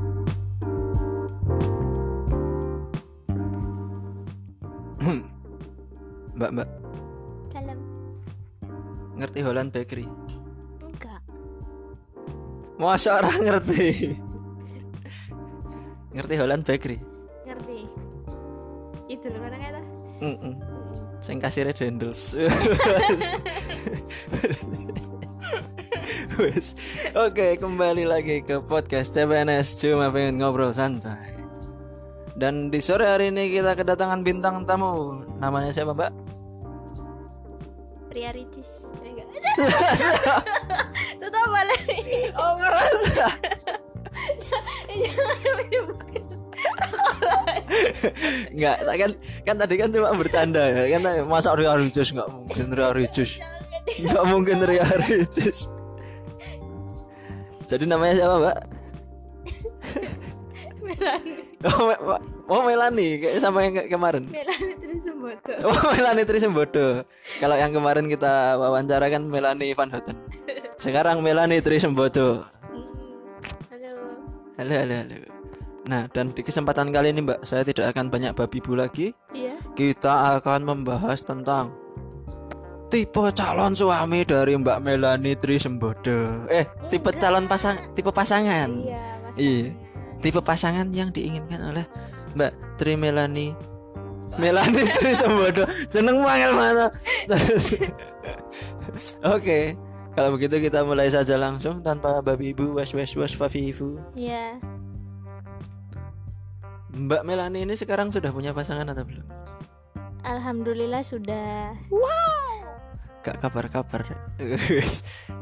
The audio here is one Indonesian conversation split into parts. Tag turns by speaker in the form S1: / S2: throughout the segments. S1: Mbak Mbak
S2: dalam
S1: ngerti Holland Bakery?
S2: enggak
S1: Masa orang ngerti? ngerti Holland Bakery?
S2: ngerti itu loh kan kata
S1: Mm-mm. Sing kasirnya Dendels. Wes. Oke, kembali lagi ke podcast CPNS cuma pengen ngobrol santai. Dan di sore hari ini kita kedatangan bintang tamu. Namanya siapa, Mbak?
S2: pria ricis Eh, enggak tetap balik
S1: Oh, ngerasa.
S2: jangan menyebutkan
S1: Enggak, tak kan kan tadi kan cuma bercanda ya. Kan masa Ria Ricis enggak mungkin Ria Ricis.
S2: jangan gede
S1: Enggak mungkin Ria Ricis. Jadi namanya siapa, Mbak?
S2: Melani
S1: Oh, Me- Ma- oh Melani, kayak sama yang ke- kemarin.
S2: Melani terus semboto
S1: Oh, Melani Trisembodo. Kalau yang kemarin kita wawancara kan Melani Van Houten. Sekarang Melani Trisembodo.
S2: Hmm. halo
S1: Halo, halo, halo. Nah, dan di kesempatan kali ini, Mbak, saya tidak akan banyak babi bu lagi.
S2: iya
S1: Kita akan membahas tentang tipe calon suami dari Mbak Melani Trisembodo. Eh, tipe calon pasang tipe pasangan.
S2: iya mas
S1: Iya. Tipe pasangan yang diinginkan oleh Mbak Tri Melani. Melani Tri Sembodo. Jeneng mangel mana? Oke. Kalau begitu kita mulai saja langsung tanpa babi ibu was was was fafi ibu.
S2: iya
S1: Mbak Melani ini sekarang sudah punya pasangan atau belum?
S2: alhamdulillah sudah
S1: Gak kabar-kabar.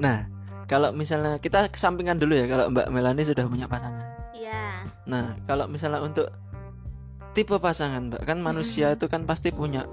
S1: nah, kalau misalnya kita kesampingan dulu ya kalau Mbak Melani sudah punya pasangan.
S2: iya
S1: Nah, kalau misalnya untuk tipe pasangan, Mbak, kan manusia itu kan pasti punya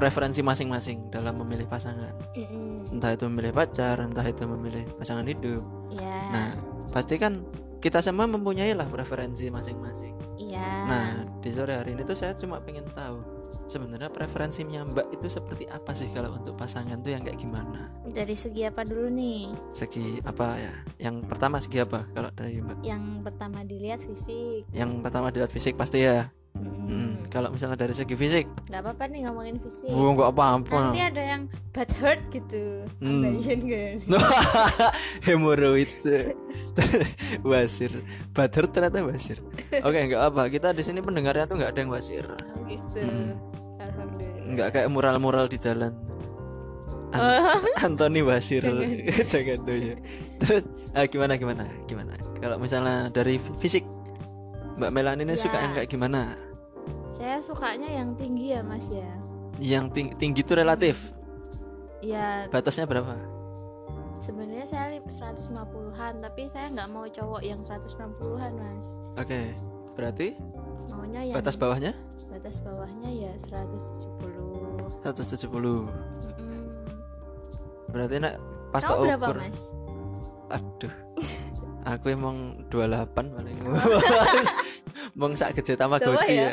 S1: preferensi masing-masing dalam memilih pasangan.
S2: Mm-mm.
S1: Entah itu memilih pacar, entah itu memilih pasangan hidup.
S2: iya
S1: Nah, pasti kan kita semua mempunyai lah preferensi masing-masing.
S2: iya
S1: Nah, di sore hari ini tuh saya cuma pengen tahu sebenarnya preferensinya Mbak itu seperti apa sih kalau untuk pasangan tuh yang kayak gimana?
S2: dari segi apa dulu nih
S1: Segi apa ya? Yang pertama segi apa kalau dari Mbak?
S2: yang pertama dilihat fisik
S1: Yang pertama dilihat fisik pasti ya. Hmm, Iya.
S2: Mm.
S1: Kalau misalnya dari segi fisik
S2: nggak apa-apa nih ngomongin fisik
S1: Gue nggak apa-apa.
S2: nanti ada yang bad hurt gitu
S1: Hmm.
S2: Bagian kan
S1: Hemoroid. wasir. Badar ternyata wasir. Oke, nggak apa. Kita di sini pendengarnya tuh nggak ada yang wasir.
S2: gitu
S1: Hmm.
S2: alhamdulillah
S1: Nggak kayak mural-mural di jalan. An- Anthony Wasir. Oh. Jangan tuh ya. Terus ah, gimana gimana? Gimana? Kalau misalnya dari fisik Mbak Melani ini suka
S2: Ya.
S1: yang kayak gimana?
S2: saya sukanya yang tinggi ya mas ya
S1: Yang ting- tinggi itu relatif.
S2: ya
S1: Batasnya berapa?
S2: sebenarnya saya li- 150-an tapi saya nggak mau cowok yang 160-an mas
S1: Oke. Berarti
S2: maunya yang
S1: batas bawahnya
S2: batas bawahnya ya 170
S1: 170.
S2: Mm-mm.
S1: Berarti nak pas tak
S2: kamu berapa
S1: ukur.
S2: mas
S1: Aduh. Aku emang 28 paling. Mong sak gede tambah
S2: Dawa
S1: goci ya.
S2: ya?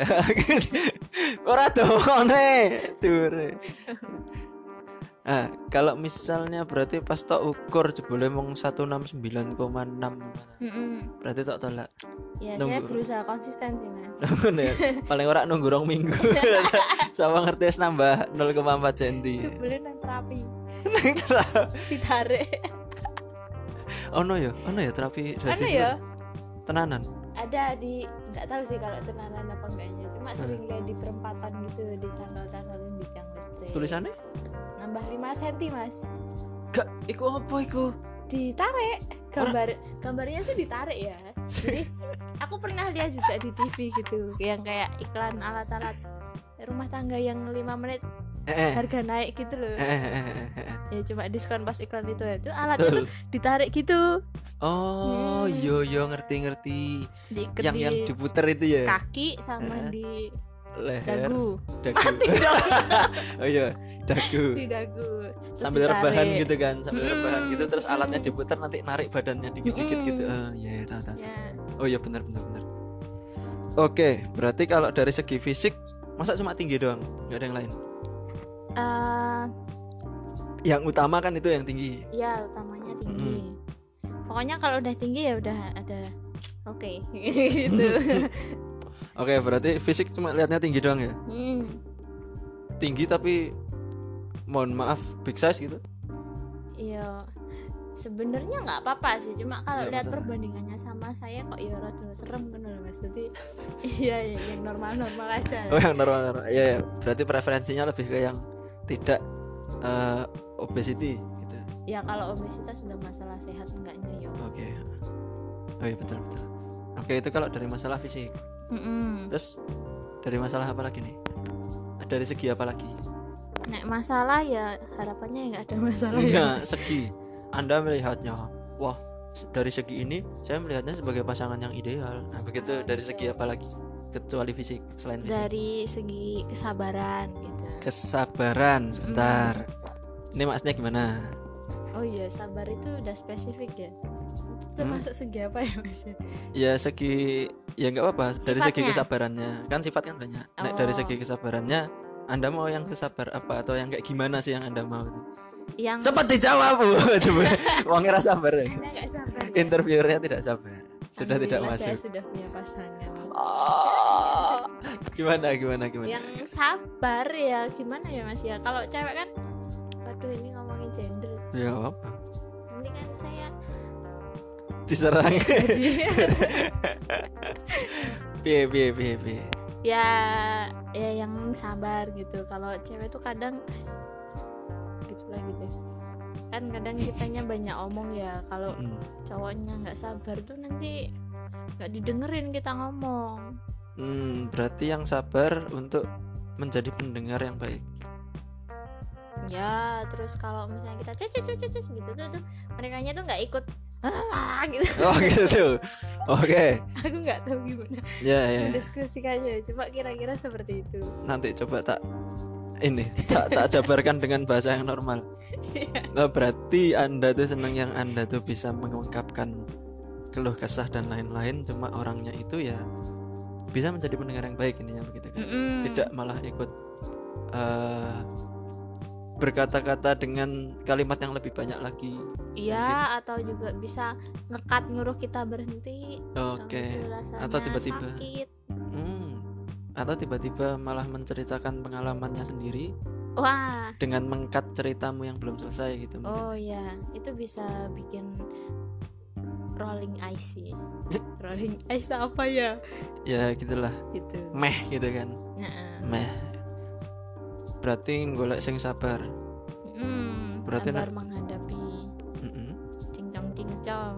S1: Ora dongone, dure. Ah, kalau misalnya berarti pas tak ukur jebule mong 169,6.
S2: Mm-mm.
S1: Berarti tak tolak.
S2: ya
S1: Nunggu.
S2: saya berusaha konsisten sih mas
S1: Namun ya, paling ora nunggu rong minggu. Sama ngerti wis nambah 0,4 cm.
S2: sebelum nang terapi
S1: Nang terapi.
S2: ditarik
S1: Ono ya, ono ya terapi dua
S2: Ada
S1: tidur.
S2: ya
S1: Tenanan.
S2: ada di nggak tahu sih kalau tenanan apa enggaknya cuma
S1: Hmm.
S2: sering lihat di perempatan gitu di candal-candalin di tiang listrik
S1: Tulisannya?
S2: nambah 5 cm mas
S1: Gak, iku apa iku?
S2: ditarik gambar gambarnya sih ditarik ya jadi aku pernah lihat juga di TV gitu yang kayak iklan alat-alat rumah tangga yang 5 menit
S1: Eh, eh,
S2: harga naik gitu loh
S1: eh, eh, eh, eh, eh.
S2: ya cuma diskon pas iklan itu itu alatnya tuh
S1: Betul.
S2: ditarik gitu
S1: Oh,
S2: Hmm.
S1: yo yo ngerti ngerti.
S2: diikat
S1: yang
S2: di
S1: yang diputer itu ya.
S2: kaki
S1: Eh.
S2: sama di
S1: Leher,
S2: dagu
S1: dagu. oh iya, dagu.
S2: di dagu Terus
S1: Sambil rebahan
S2: ditarik. Hmm.
S1: gitu kan, sambil
S2: Mm-mm.
S1: rebahan gitu terus alatnya diputer nanti narik badannya dikit-dikit
S2: Mm-mm.
S1: gitu. Oh iya, tahu tahu.
S2: ya
S1: Oh iya benar benar benar. Oke, berarti kalau dari segi fisik masa cuma tinggi doang, nggak ada yang lain.
S2: eh,
S1: Yang utama kan itu yang tinggi.
S2: ya utamanya tinggi pokoknya kalau udah tinggi ya udah ada oke gitu
S1: Oke, berarti fisik cuma lihatnya tinggi doang ya.
S2: Hmm.
S1: Tinggi tapi mohon maaf big size gitu
S2: Iya. Sebenarnya nggak apa-apa sih, cuma
S1: Iya,
S2: kalau lihat
S1: maksudnya.
S2: perbandingannya sama saya kok ya rada serem kan loh Mas. Jadi iya iya, yang normal-normal aja.
S1: oh yang normal normal ya, ya. berarti preferensinya lebih ke yang tidak eh, obesity gitu
S2: Ya kalau obesitas sudah masalah sehat enggaknya yo.
S1: oke oh iya betul betul oke itu kalau dari masalah fisik
S2: Mm-mm.
S1: terus dari masalah apa lagi nih dari segi apa lagi
S2: Nek masalah ya harapannya ya nggak ada masalah
S1: enggak
S2: ya.
S1: Iya, segi anda melihatnya wah se- dari segi ini saya melihatnya sebagai pasangan yang ideal nah begitu
S2: Ah,
S1: dari
S2: gitu.
S1: segi apa lagi kecuali fisik selain fisik
S2: Dari segi kesabaran gitu.
S1: kesabaran sebentar ini maksudnya gimana
S2: Oh iya, sabar itu udah spesifik ya. Itu
S1: Hmm?
S2: termasuk segi apa ya Mas? ya?
S1: ya segi ya nggak apa-apa dari segi
S2: Sifatnya.
S1: kesabarannya kan sifat kan banyak Nek, dari
S2: Oh.
S1: segi kesabarannya anda mau yang kesabar apa atau yang kayak gimana sih yang anda mau
S2: Hmm. Yang
S1: cepat dijawab bu coba uangnya rasa sabar ya.
S2: Anda nggak sabar. ya?
S1: interviewernya tidak sabar sudah tidak
S2: Alhamdulillah
S1: masuk
S2: Saya sudah punya pasangan.
S1: Ah, gimana gimana gimana
S2: yang sabar ya gimana ya mas ya kalau cewek kan waduh ini ngomongin gender
S1: ya apa
S2: nanti kan saya
S1: diserang
S2: jadi
S1: piye piye piye piye
S2: ya ya yang sabar gitu kalau cewek tuh kadang gitu lah gitu kan kadang kitanya banyak omong ya kalau
S1: Mm.
S2: cowoknya nggak sabar tuh nanti nggak didengerin kita ngomong
S1: Hmm, berarti yang sabar untuk menjadi pendengar yang baik
S2: ya terus kalau misalnya kita cece cece cece gitu tuh tuh mereka tuh nggak ikut ah gitu
S1: oh gitu tuh oke
S2: aku nggak tahu gimana
S1: ya ya
S2: mendeskripsikannya cuma kira-kira seperti itu
S1: nanti coba tak ini tak tak jabarkan dengan bahasa yang normal
S2: Iya.
S1: nah, berarti anda tuh seneng yang anda tuh bisa mengungkapkan keluh kesah dan lain-lain cuma orangnya itu ya bisa menjadi pendengar yang baik intinya begitu kan
S2: Mm-mm.
S1: tidak malah ikut eh, berkata-kata dengan kalimat yang lebih banyak lagi gitu.
S2: iya atau juga bisa ngekat nyuruh kita berhenti
S1: oke
S2: Kalau itu rasanya
S1: Atau tiba-tiba.
S2: sakit.
S1: Hmm. atau tiba-tiba malah menceritakan pengalamannya sendiri
S2: wah
S1: dengan mengkat ceritamu yang belum selesai gitu mungkin.
S2: oh ya itu bisa bikin rolling ice sih. rolling ice apa ya
S1: ya gitulah
S2: gitu
S1: meh gitu kan
S2: nah,
S1: meh berarti golek sing sabar
S2: mm,
S1: Berarti
S2: sabar menghadapi
S1: Mm-mm.
S2: cincong cincong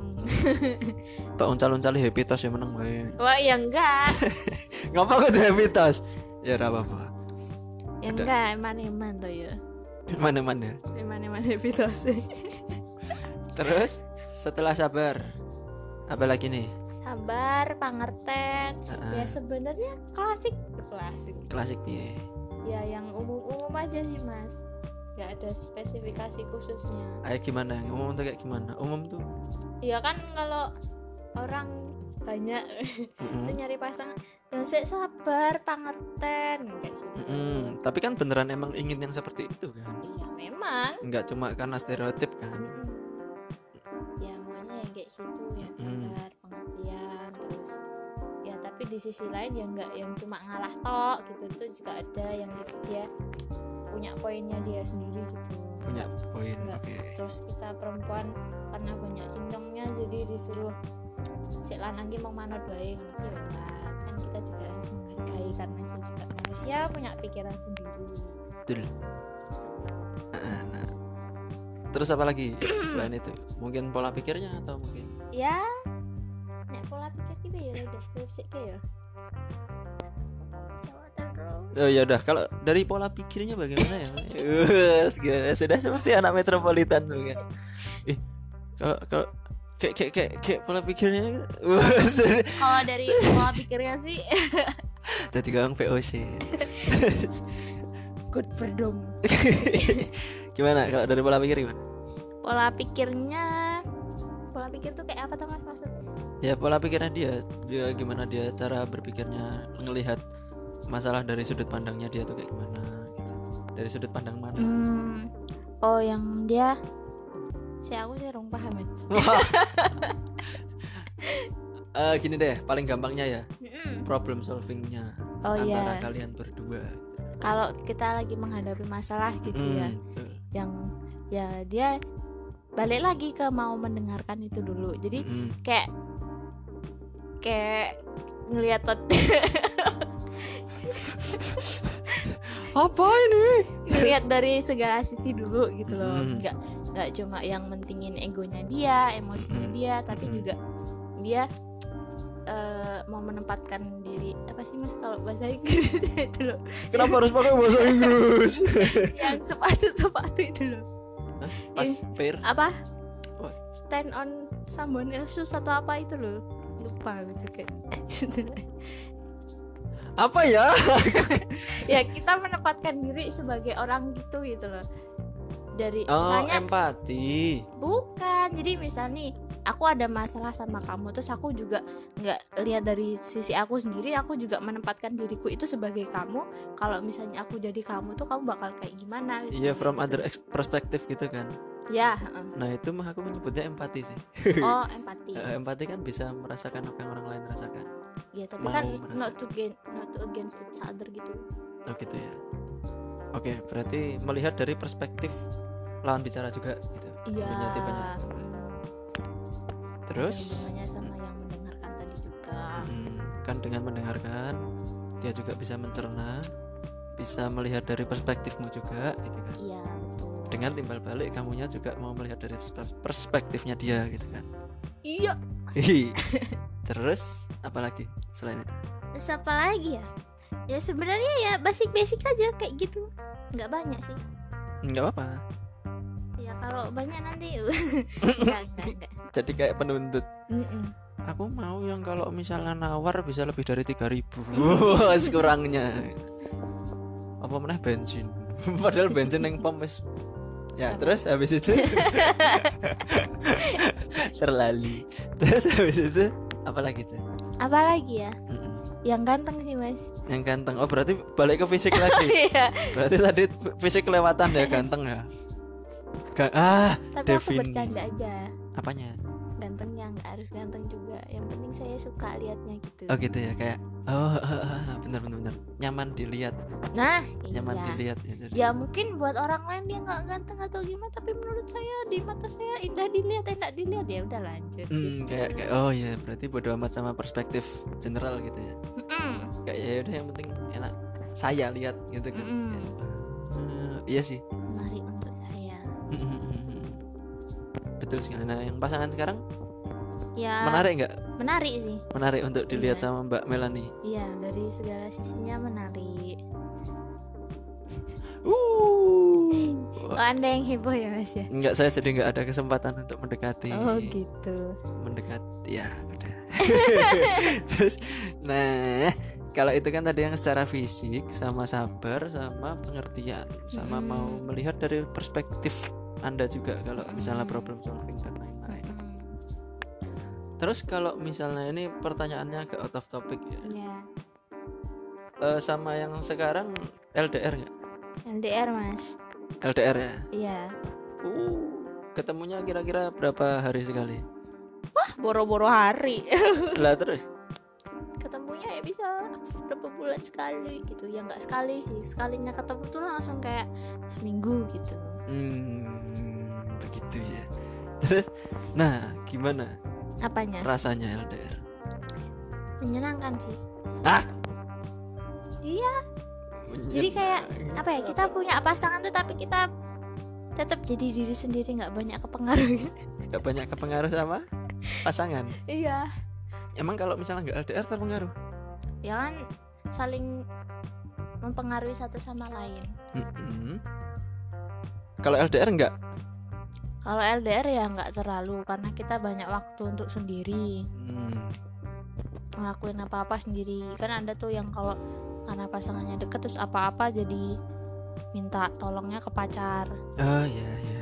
S1: tak uncal-uncal happy toast ya menang wae
S2: wah ya enggak
S1: ngapa aku tuh happy toast ya ra apa-apa
S2: ya
S1: Ada.
S2: enggak eman eman tuh ya
S1: mana-mana
S2: eman eman happy tuh sih
S1: terus setelah sabar apa lagi nih
S2: sabar pangerten
S1: Heeh.
S2: ya sebenarnya klasik klasik
S1: klasik piye
S2: ya yang umum umum aja sih mas nggak ada spesifikasi khususnya
S1: ayo gimana yang umum tuh kayak gimana umum tuh
S2: ya kan kalau orang banyak itu
S1: Mm-mm.
S2: nyari pasangan yang sik sabar pangerten kayak gitu
S1: Mm-mm. tapi kan beneran emang ingin yang seperti itu kan
S2: iya memang
S1: nggak cuma karena stereotip kan
S2: Mm-mm. ya maunya yang kayak gitu yang
S1: Mm.
S2: sabar pengertian terus ya tapi di sisi lain yang nggak yang cuma ngalah tok gitu itu juga ada yang dia punya poinnya dia sendiri gitu
S1: punya poin
S2: Nggak.
S1: oke
S2: terus kita perempuan karena banyak cincongnya jadi disuruh si lanang ki mau manut bae ngono ki lho, Mbak." kan kita juga harus menghargai karena dia juga manusia punya pikiran sendiri
S1: Betul. Nah, nah. Terus apa lagi selain itu? Mungkin pola pikirnya atau mungkin
S2: ya nek pola pikir kita ya deskripsi ke ya Cowok terus
S1: Oh ya udah kalau dari pola pikirnya bagaimana ya? Wes, gila, sudah seperti anak metropolitan ya. mungkin. Ih, Eh, kalau kalau kayak kayak kayak, kayak pola pikirnya gitu. wes,
S2: kalau dari pola pikirnya sih
S1: tadi gagang VOC.
S2: good freedom
S1: gimana kalau dari pola pikir gimana?
S2: pola pikirnya pola pikir tuh kayak apa tuh mas maksudnya
S1: Ya pola pikirnya dia, dia gimana dia cara berpikirnya ngelihat masalah dari sudut pandangnya dia tuh kayak gimana gitu. Dari sudut pandang mana?
S2: Hmm. Oh, yang dia si aku sih rung paham ya.
S1: Eh, gini deh, paling gampangnya ya problem solvingnya
S2: Oh
S1: antara
S2: iya.
S1: kalian berdua.
S2: kalau kita lagi menghadapi masalah gitu ya
S1: Hmm, betul.
S2: yang ya dia balik lagi ke mau mendengarkan itu dulu jadi
S1: Mm-mm.
S2: kayak kayak ngeliat tot-
S1: apa ini
S2: ngeliat dari segala sisi dulu gitu loh
S1: Mm.
S2: nggak nggak cuma yang mentingin egonya dia emosinya
S1: Mm.
S2: dia tapi
S1: Mm.
S2: juga dia eh, mau menempatkan diri apa sih mas kalau bahasa Inggris itu loh
S1: kenapa harus pakai bahasa Inggris
S2: yang sepatu sepatu itu loh
S1: pas pair
S2: apa
S1: Apa?
S2: stand on someone else's atau apa itu loh lupa aku juga
S1: apa ya
S2: ya kita menempatkan diri sebagai orang gitu gitu loh dari
S1: oh
S2: misalnya
S1: empati
S2: bukan jadi misal nih aku ada masalah sama kamu terus aku juga nggak lihat dari sisi aku sendiri aku juga menempatkan diriku itu sebagai kamu kalau misalnya aku jadi kamu tuh kamu bakal kayak gimana gitu.
S1: iya from other ex- perspective gitu kan
S2: ya heeh.
S1: nah itu mah aku menyebutnya empati sih
S2: oh empati
S1: Eh, empati kan bisa merasakan apa yang orang lain rasakan
S2: ya tapi
S1: mau
S2: kan
S1: merasa.
S2: not to gain not to against each other gitu
S1: oh gitu ya oke berarti melihat dari perspektif lawan bicara juga gitu
S2: iya
S1: Banyak tipenya.
S2: mm, ada
S1: terus
S2: hubungannya sama yang mendengarkan tadi juga
S1: Hmm, kan dengan mendengarkan dia juga bisa mencerna bisa melihat dari perspektifmu juga gitu kan
S2: iya betul
S1: dengan timbal balik kamunya juga mau melihat dari pers- perspektifnya dia gitu kan
S2: iya
S1: Hihi. terus apalagi selain itu
S2: terus apa lagi ya ya sebenarnya ya basic basic aja kayak gitu nggak banyak sih
S1: nggak apa-apa
S2: ya kalau banyak nanti nggak nggak nggak
S1: jadi kayak penuntut
S2: Mm-mm.
S1: aku mau yang kalau misalnya nawar bisa lebih dari 3000 Wah, kurangnya apa meneh bensin padahal bensin yang pom wis. ya terus habis itu terlali terus habis itu apalagi tuh
S2: apa lagi ya
S1: Mm-mm.
S2: yang ganteng sih mas
S1: yang ganteng oh berarti balik ke fisik lagi
S2: iya
S1: berarti tadi f- fisik kelewatan ya ganteng ya Ga- ah
S2: tapi aku
S1: Definisi.
S2: bercanda aja
S1: apanya
S2: ganteng yang nggak harus ganteng juga yang penting saya suka liatnya gitu
S1: oh gitu ya kayak oh bener bener bener nyaman dilihat
S2: nah
S1: nyaman
S2: iya
S1: dilihat ya, jadi.
S2: ya mungkin buat orang lain dia nggak ganteng atau gimana tapi menurut saya di mata saya indah dilihat enak dilihat ya udah lanjut
S1: Hmm, kayak kayak oh ya berarti bodo amat sama perspektif general gitu ya.
S2: Mm-mm.
S1: Kayak ya udah yang penting enak saya lihat gitu kan.
S2: Mm.
S1: Kayak, "Eh, iya sih.
S2: menarik untuk saya
S1: Betul sekali. Nah, yang pasangan sekarang
S2: ya
S1: menarik nggak?
S2: menarik sih
S1: Menarik untuk dilihat
S2: Iya.
S1: sama Mbak Melanie.
S2: iya dari segala sisinya menarik
S1: Uh.
S2: oh anda yang heboh ya mas ya
S1: Enggak saya jadi nggak ada kesempatan untuk mendekati.
S2: oh gitu
S1: Mendekati ya udah. Terus nah kalau itu kan tadi yang secara fisik sama sabar sama pengertian sama
S2: Mm-mm.
S1: mau melihat dari perspektif anda juga kalau misalnya
S2: Mm.
S1: problem solving dan lain-lain.
S2: Mm,
S1: Terus kalau misalnya ini pertanyaannya ke out of topic ya
S2: ya
S1: Eh, sama yang sekarang LDR nggak?
S2: LDR mas
S1: LDR ya.
S2: iya
S1: Uh, ketemunya kira-kira berapa hari sekali?
S2: wah Ah, boro-boro hari
S1: lah terus?
S2: ketemunya ya bisa berapa bulan sekali gitu ya nggak sekali sih sekalinya ketemu tuh langsung kayak seminggu gitu
S1: Hmm, begitu ya. Terus, nah gimana
S2: apanya
S1: rasanya LDR?
S2: menyenangkan sih
S1: Hah?
S2: iya jadi kayak apa ya kita punya pasangan tuh tapi kita tetap jadi diri sendiri nggak banyak kepengaruh
S1: Gak banyak kepengaruh sama pasangan.
S2: iya
S1: Emang kalau misalnya nggak LDR terpengaruh?
S2: ya kan saling mempengaruhi satu sama lain
S1: Mm-mm. Kalau LDR nggak?
S2: kalau LDR ya nggak terlalu karena kita banyak waktu untuk sendiri
S1: Hmm,
S2: ngelakuin apa-apa sendiri kan ada tuh yang kalau karena pasangannya deket terus apa-apa jadi minta tolongnya ke pacar
S1: Oh ya ya.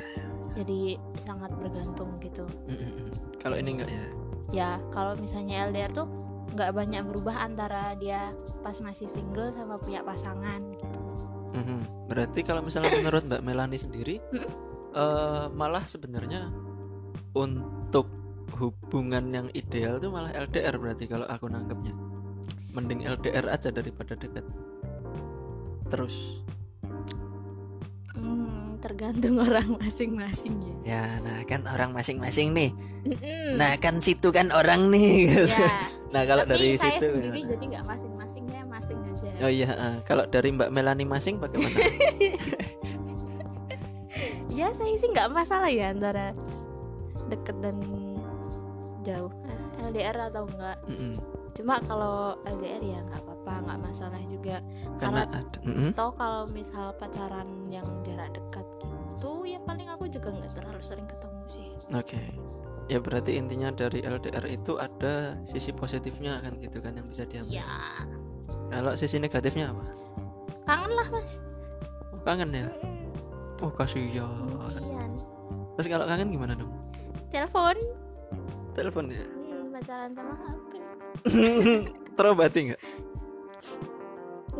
S2: jadi sangat bergantung gitu
S1: Mm-mm. Kalau ini nggak ya?
S2: ya kalau misalnya LDR tuh nggak banyak berubah antara dia pas masih single sama punya pasangan gitu
S1: Mhm. Berarti kalau misalnya menurut Mbak Melani sendiri,
S2: Mm-mm.
S1: eh, malah sebenarnya untuk hubungan yang ideal tuh malah LDR berarti kalau aku nangkepnya. Mending LDR aja daripada deket. terus
S2: Hmm, tergantung orang masing-masing ya.
S1: ya nah kan orang masing-masing nih
S2: Mm-mm.
S1: nah kan situ kan orang nih gitu.
S2: Hmm. ya.
S1: nah kalau
S2: Tapi
S1: dari
S2: saya
S1: situ
S2: sendiri
S1: gimana?
S2: jadi nggak masing-masing saya masing aja.
S1: oh iya eh, kalau dari Mbak Melani masing bagaimana
S2: Ya saya sih nggak masalah ya antara deket dan jauh Eh, LDR atau enggak
S1: Mm-mm.
S2: cuma kalau LDR ya nggak apa-apa nggak masalah juga
S1: karena
S2: karena
S1: ada Mm-mm.
S2: atau kalau misal pacaran yang jarak dekat gitu ya paling aku juga nggak terlalu sering ketemu sih
S1: Oke. Ya berarti intinya dari LDR itu ada sisi positifnya kan gitu kan yang bisa diambil.
S2: ya
S1: Kalau sisi negatifnya apa?
S2: kangen lah mas
S1: Oh, kangen ya.
S2: Mm-mm.
S1: Oh kasihan.
S2: Gantian.
S1: Terus kalau kangen gimana dong?
S2: telepon
S1: Telepon ya.
S2: Hmm, pacaran sama HP
S1: Terobati nggak?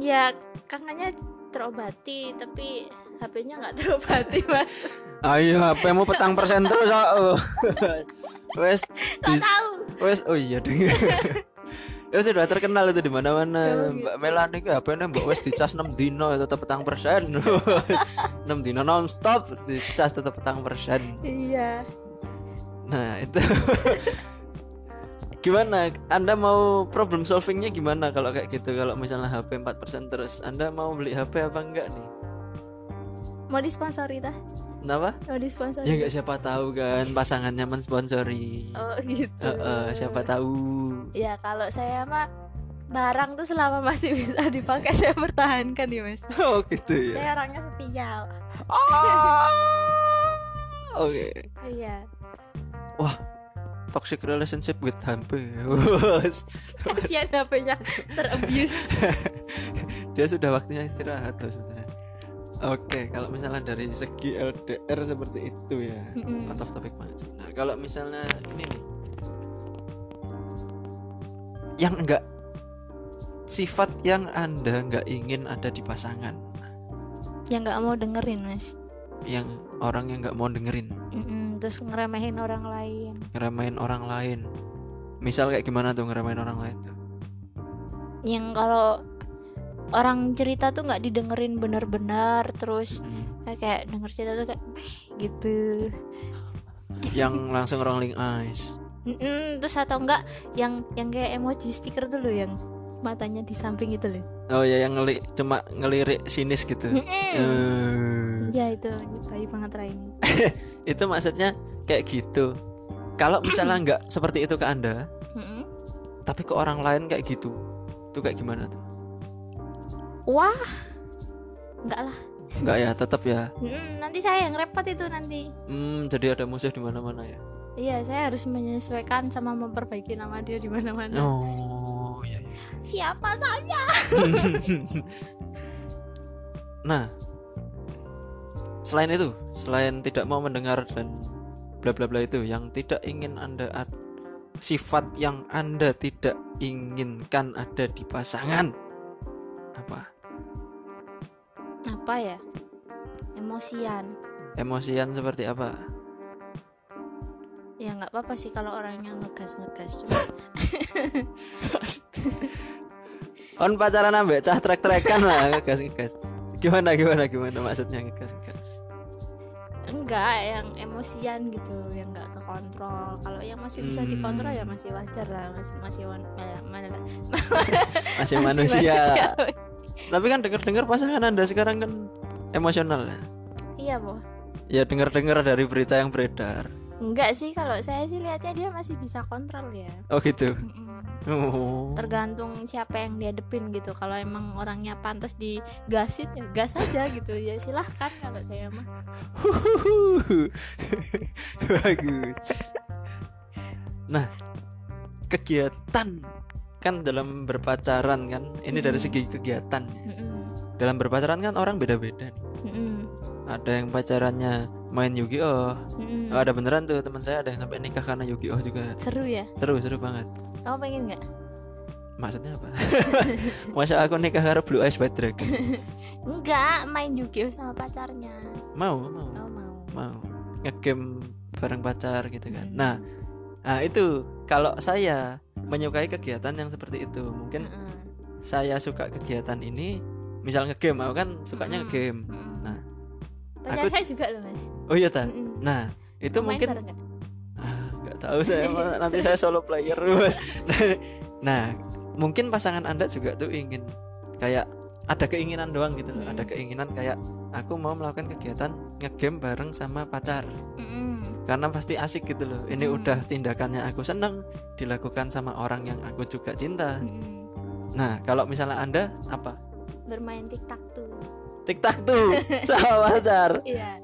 S2: ya kangennya terobati tapi HP-nya nggak terobati mas
S1: Ayo HP mu petang persen terus oh. wes
S2: nggak tahu
S1: wes oh iya dong. Ya sudah terkenal itu di mana-mana.
S2: Oh, gitu.
S1: Mbak Melani ke HP-nya Mbak wes dicas 6 dino tetap petang persen. 6 dino nonstop dicas tetap petang persen.
S2: iya
S1: Nah itu gimana? Anda mau problem solvingnya gimana kalau kayak gitu? Kalau misalnya HP 4% terus, Anda mau beli HP apa enggak nih?
S2: mau disponsori dah
S1: Kenapa?
S2: mau disponsori
S1: Ya enggak siapa tahu kan pasangannya mensponsori.
S2: oh gitu
S1: Eh, eh, siapa tahu.
S2: ya kalau saya mah barang tuh selama masih bisa dipakai saya pertahankan ya mas
S1: Oh gitu ya.
S2: saya orangnya setia
S1: Ah! Oke.
S2: iya
S1: Toxic relationship with HP.
S2: kasihan HP-nya terabuse
S1: Dia sudah waktunya istirahat loh sebenarnya. Oke, kalau misalnya dari segi LDR seperti itu ya.
S2: Mm-mm.
S1: out of topic banget sih. Nah kalau misalnya ini nih, yang enggak sifat yang anda nggak ingin ada di pasangan,
S2: yang nggak mau dengerin mas
S1: yang orang yang nggak mau dengerin,
S2: Mm-mm, terus ngeremehin orang lain
S1: ngeremain orang lain. Misal kayak gimana tuh ngeremain orang lain tuh?
S2: yang kalau orang cerita tuh nggak didengerin benar-benar terus
S1: Hmm.
S2: kayak denger cerita tuh kayak gitu
S1: Yang langsung rolling eyes.
S2: Mm-mm, terus atau enggak yang yang kayak emoji stiker dulu yang matanya di samping itu loh
S1: Oh ya yang ngeli cuma ngelirik sinis gitu.
S2: Mm-mm.
S1: Eh,
S2: ya itu nyetai banget Raini
S1: itu maksudnya kayak gitu. Kalau misalnya nggak seperti itu ke anda,
S2: Mm-mm.
S1: tapi ke orang lain kayak gitu tuh kayak gimana tuh
S2: wah enggak lah
S1: nggak ya tetap ya
S2: Mm-mm, nanti saya yang repot itu nanti
S1: hmm jadi ada musuh di mana mana ya
S2: iya saya harus menyesuaikan sama memperbaiki nama dia di mana-mana
S1: oh iya, iya.
S2: siapa saya
S1: nah selain itu selain tidak mau mendengar dan bla bla bla itu yang tidak ingin anda ad- sifat yang anda tidak inginkan ada di pasangan apa
S2: apa ya emosian
S1: emosian seperti apa
S2: ya nggak apa-apa sih kalau orangnya ngegas ngegas cuma
S1: on pacaran ambek cah trek trekan lah ngegas ngegas gimana gimana gimana maksudnya ngegas ngegas
S2: enggak yang emosian gitu yang nggak kekontrol kalau yang masih bisa
S1: Hmm.
S2: dikontrol ya masih wajar lah masih masih wan- eh, mana-
S1: masih
S2: masih
S1: manusia
S2: manusiawi.
S1: tapi kan denger dengar pasangan anda sekarang kan emosional ya
S2: iya boh
S1: ya dengar dengar dari berita yang beredar
S2: enggak sih kalau saya sih lihatnya dia masih bisa kontrol ya
S1: oh gitu
S2: Mm-mm.
S1: oh.
S2: tergantung siapa yang dihadepin gitu kalau emang orangnya pantas digasin ya gas aja gitu ya silahkan kalau saya mah
S1: bagus nah kegiatan kan dalam berpacaran kan ini dari
S2: Mm.
S1: segi kegiatan
S2: Mm-mm.
S1: dalam berpacaran kan orang beda beda
S2: Mm-mm.
S1: ada yang pacarannya main Yu-Gi-Oh
S2: Mm-mm.
S1: Oh, ada beneran tuh teman saya ada yang sampai nikah karena Yu-Gi-Oh juga
S2: seru ya
S1: seru seru banget
S2: kamu pengen nggak
S1: maksudnya apa masa aku nikah karena Blue Eyes White Dragon
S2: enggak main Yu-Gi-Oh sama pacarnya
S1: mau mau
S2: oh mau
S1: mau ngegame bareng pacar gitu kan
S2: Mm.
S1: nah ah, itu kalau Kan
S2: Hmm.
S1: saya menyukai kegiatan yang seperti itu mungkin
S2: Mm-mm.
S1: saya suka kegiatan ini misal ngegame aku kan sukanya
S2: Mm-mm.
S1: ngegame
S2: Mm-mm.
S1: Nah,
S2: pacar
S1: aku-
S2: saya Hmm. juga loh mas
S1: oh iya ta
S2: Mm-mm.
S1: nah itu
S2: Hmm. Main
S1: mungkin
S2: bareng nggak?
S1: Ah, nggak tahu saya Mas. nanti saya solo player bos nah mungkin pasangan anda juga tuh ingin kayak ada keinginan doang gitu loh
S2: Mm.
S1: ada keinginan kayak aku mau melakukan kegiatan ngegame bareng sama pacar
S2: Mm-mm.
S1: karena pasti asik gitu loh ini
S2: Mm.
S1: udah tindakannya aku seneng dilakukan sama orang yang aku juga cinta
S2: Mm-mm.
S1: nah kalau misalnya anda apa
S2: bermain tiktok tuh
S1: tiktak tuh sama pacar
S2: iya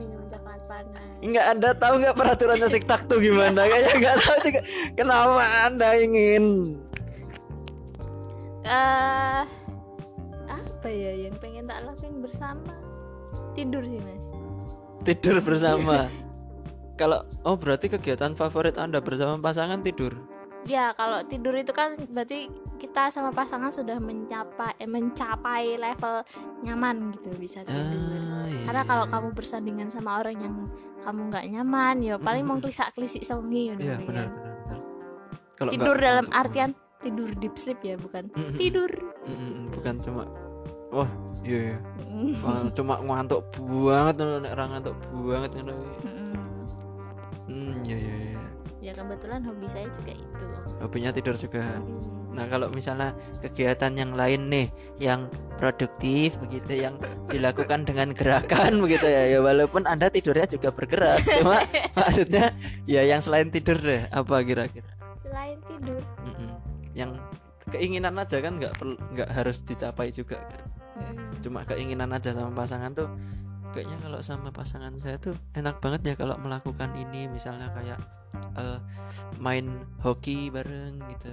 S2: minum coklat panas
S1: Enggak ada tahu nggak peraturannya TikTok tuh gimana? Kayaknya nggak tahu juga. Kenapa Anda ingin?
S2: eh apa ya yang pengen tak lakuin bersama tidur sih mas
S1: tidur bersama. Kalau oh berarti kegiatan favorit Anda bersama pasangan tidur.
S2: ya kalau tidur itu kan berarti kita sama pasangan sudah mencapai eh, mencapai level nyaman gitu bisa tidur
S1: Ah, iya.
S2: karena kalau kamu bersandingan sama orang yang kamu nggak nyaman ya paling mau klisak klisik songi udah
S1: Iya,
S2: gitu
S1: benar
S2: ya.
S1: benar benar. Kalau
S2: tidur
S1: nggak-
S2: dalam artian tidur deep sleep ya bukan
S1: Mm-mm.
S2: tidur
S1: Mm-mm, bukan cuma wah iya iya. Wah, cuma ngantuk banget ngono, nek ora ngantuk banget ngono.
S2: Mm-mm.
S1: Hmm iya iya iya.
S2: ya kebetulan hobi saya juga itu
S1: Hobinya tidur juga.
S2: Mm.
S1: Nah kalau misalnya kegiatan yang lain nih yang produktif begitu yang dilakukan dengan gerakan begitu ya ya walaupun anda tidurnya juga bergerak cuma maksudnya ya yang selain tidur deh apa kira-kira
S2: selain tidur
S1: Mm-mm. yang keinginan aja kan nggak perlu nggak harus dicapai juga kan cuma keinginan aja sama pasangan tuh kayaknya kalau sama pasangan saya tuh enak banget ya kalau melakukan ini misalnya kayak eh, main hoki bareng gitu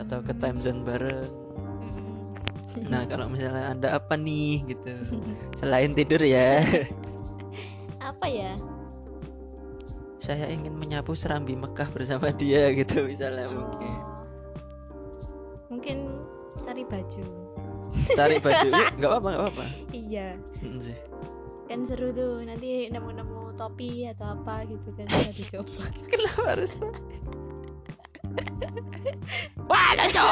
S1: atau ke time zone bareng Nah kalau misalnya anda apa nih gitu Selain tidur ya
S2: apa ya
S1: Saya ingin menyapu serambi Mekah bersama dia gitu misalnya mungkin
S2: Oh. mungkin cari baju
S1: Cari baju Ih, nggak apa-apa nggak apa-apa
S2: iya
S1: Mm, sih.
S2: kan seru tuh nanti nemu-nemu topi atau apa gitu kan bisa dicoba
S1: Kenapa harus
S2: wah lucu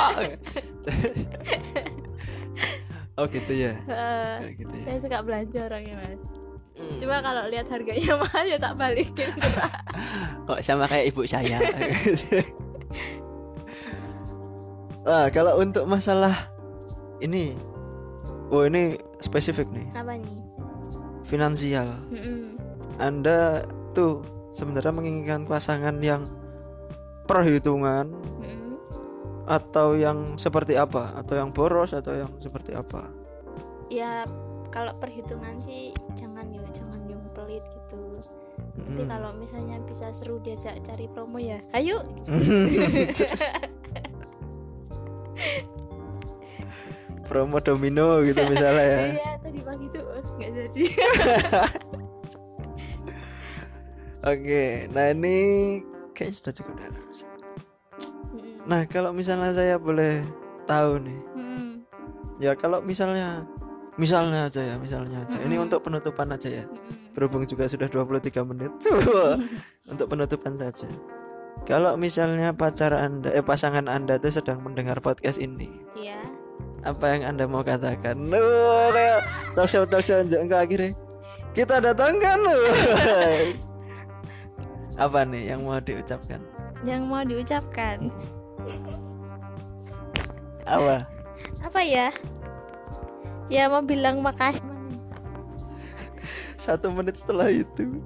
S1: Oh gitu ya
S2: Eh,
S1: Kayak gitu ya
S2: saya suka belanja orangnya mas
S1: Mm.
S2: cuma kalau lihat harganya mahal ya tak balikin
S1: Kok sama kayak ibu saya Nah kalau untuk masalah Ini Oh ini spesifik nih
S2: apa nih
S1: Finansial
S2: Mm-mm.
S1: Anda tuh sebenarnya menginginkan pasangan yang perhitungan
S2: Mm-mm.
S1: atau yang seperti apa atau yang boros atau yang seperti apa
S2: ya kalau perhitungan sih jangan yuk jangan yang pelit gitu tapi
S1: Mm.
S2: kalau misalnya bisa seru diajak cari promo ya ayo
S1: Hmm. promo domino gitu misalnya ya
S2: iya tadi pagi tuh eh, nggak jadi
S1: oke nah ini kayaknya sudah cukup dalam sih.
S2: Mm-mm.
S1: nah kalau misalnya saya boleh tahu nih
S2: Mm-mm.
S1: ya kalau misalnya misalnya aja ya misalnya aja ini
S2: Mm-mm.
S1: untuk penutupan aja ya
S2: Mm-mm.
S1: berhubung juga sudah 23 menit Wah, untuk penutupan saja kalau misalnya pacar anda eh pasangan anda tuh sedang mendengar podcast ini
S2: iya
S1: apa yang anda mau katakan Nuh, kayak talk show talk show enggak enggak, akhirnya kita datangkan wah. apa nih yang mau diucapkan
S2: yang mau diucapkan
S1: apa
S2: apa ya ya mau bilang makasih
S1: satu menit setelah itu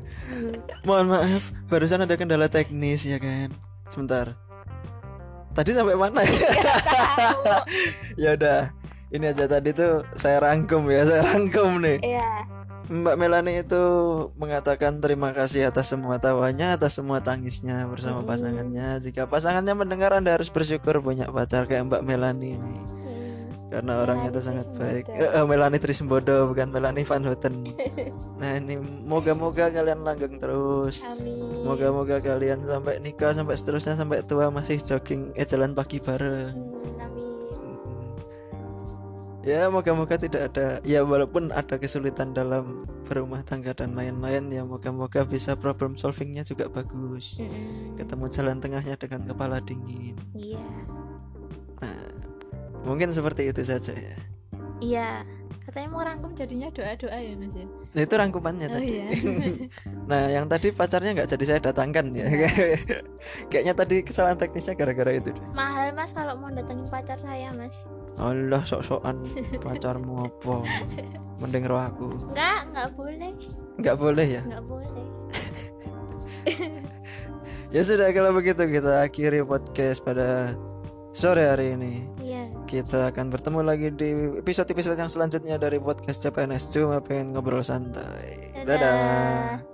S1: mohon maaf barusan ada kendala teknis ya kan sebentar tadi sampai mana ya udah ini aja tadi tuh saya rangkum ya saya rangkum nih
S2: ya
S1: Mbak Melani itu mengatakan terima kasih atas semua tawanya, atas semua tangisnya bersama
S2: Mm.
S1: pasangannya. Jika pasangannya mendengar, Anda harus bersyukur punya pacar kayak Mbak Melani ini. Karena orangnya itu
S2: Melani
S1: sangat baik.
S2: Trismbodo.
S1: Eh, eh, Melani Trismbodo bukan Melani Van Houten. nah, ini moga-moga kalian langgeng terus.
S2: amin
S1: Moga-moga kalian sampai nikah, sampai seterusnya, sampai tua masih jogging eh jalan pagi bareng.
S2: Mm, amin
S1: Ya moga-moga tidak ada Ya walaupun ada kesulitan dalam berumah tangga dan lain-lain Ya moga-moga bisa problem solvingnya juga bagus
S2: Mm-mm.
S1: Ketemu jalan tengahnya dengan kepala dingin
S2: iya
S1: Mungkin seperti itu saja ya
S2: Iya, katanya mau rangkum jadinya doa-doa ya Mas ya.
S1: Nah, itu rangkumannya
S2: Oh
S1: tadi.
S2: iya.
S1: nah, yang tadi pacarnya nggak jadi saya datangkan ya.
S2: Iya.
S1: Kayaknya tadi kesalahan teknisnya gara-gara itu. deh.
S2: Mahal Mas kalau mau datengin pacar saya Mas.
S1: Allah sok-sokan pacarmu apa? Mending roh aku.
S2: Enggak, enggak boleh.
S1: Nggak boleh ya.
S2: Enggak boleh.
S1: Ya sudah kalau begitu kita akhiri podcast pada sore hari ini.
S2: Iya.
S1: Kita akan bertemu lagi di episode-episode yang selanjutnya dari podcast CPNS Cuma pengen ngobrol santai.
S2: Dadah.
S1: Dadah.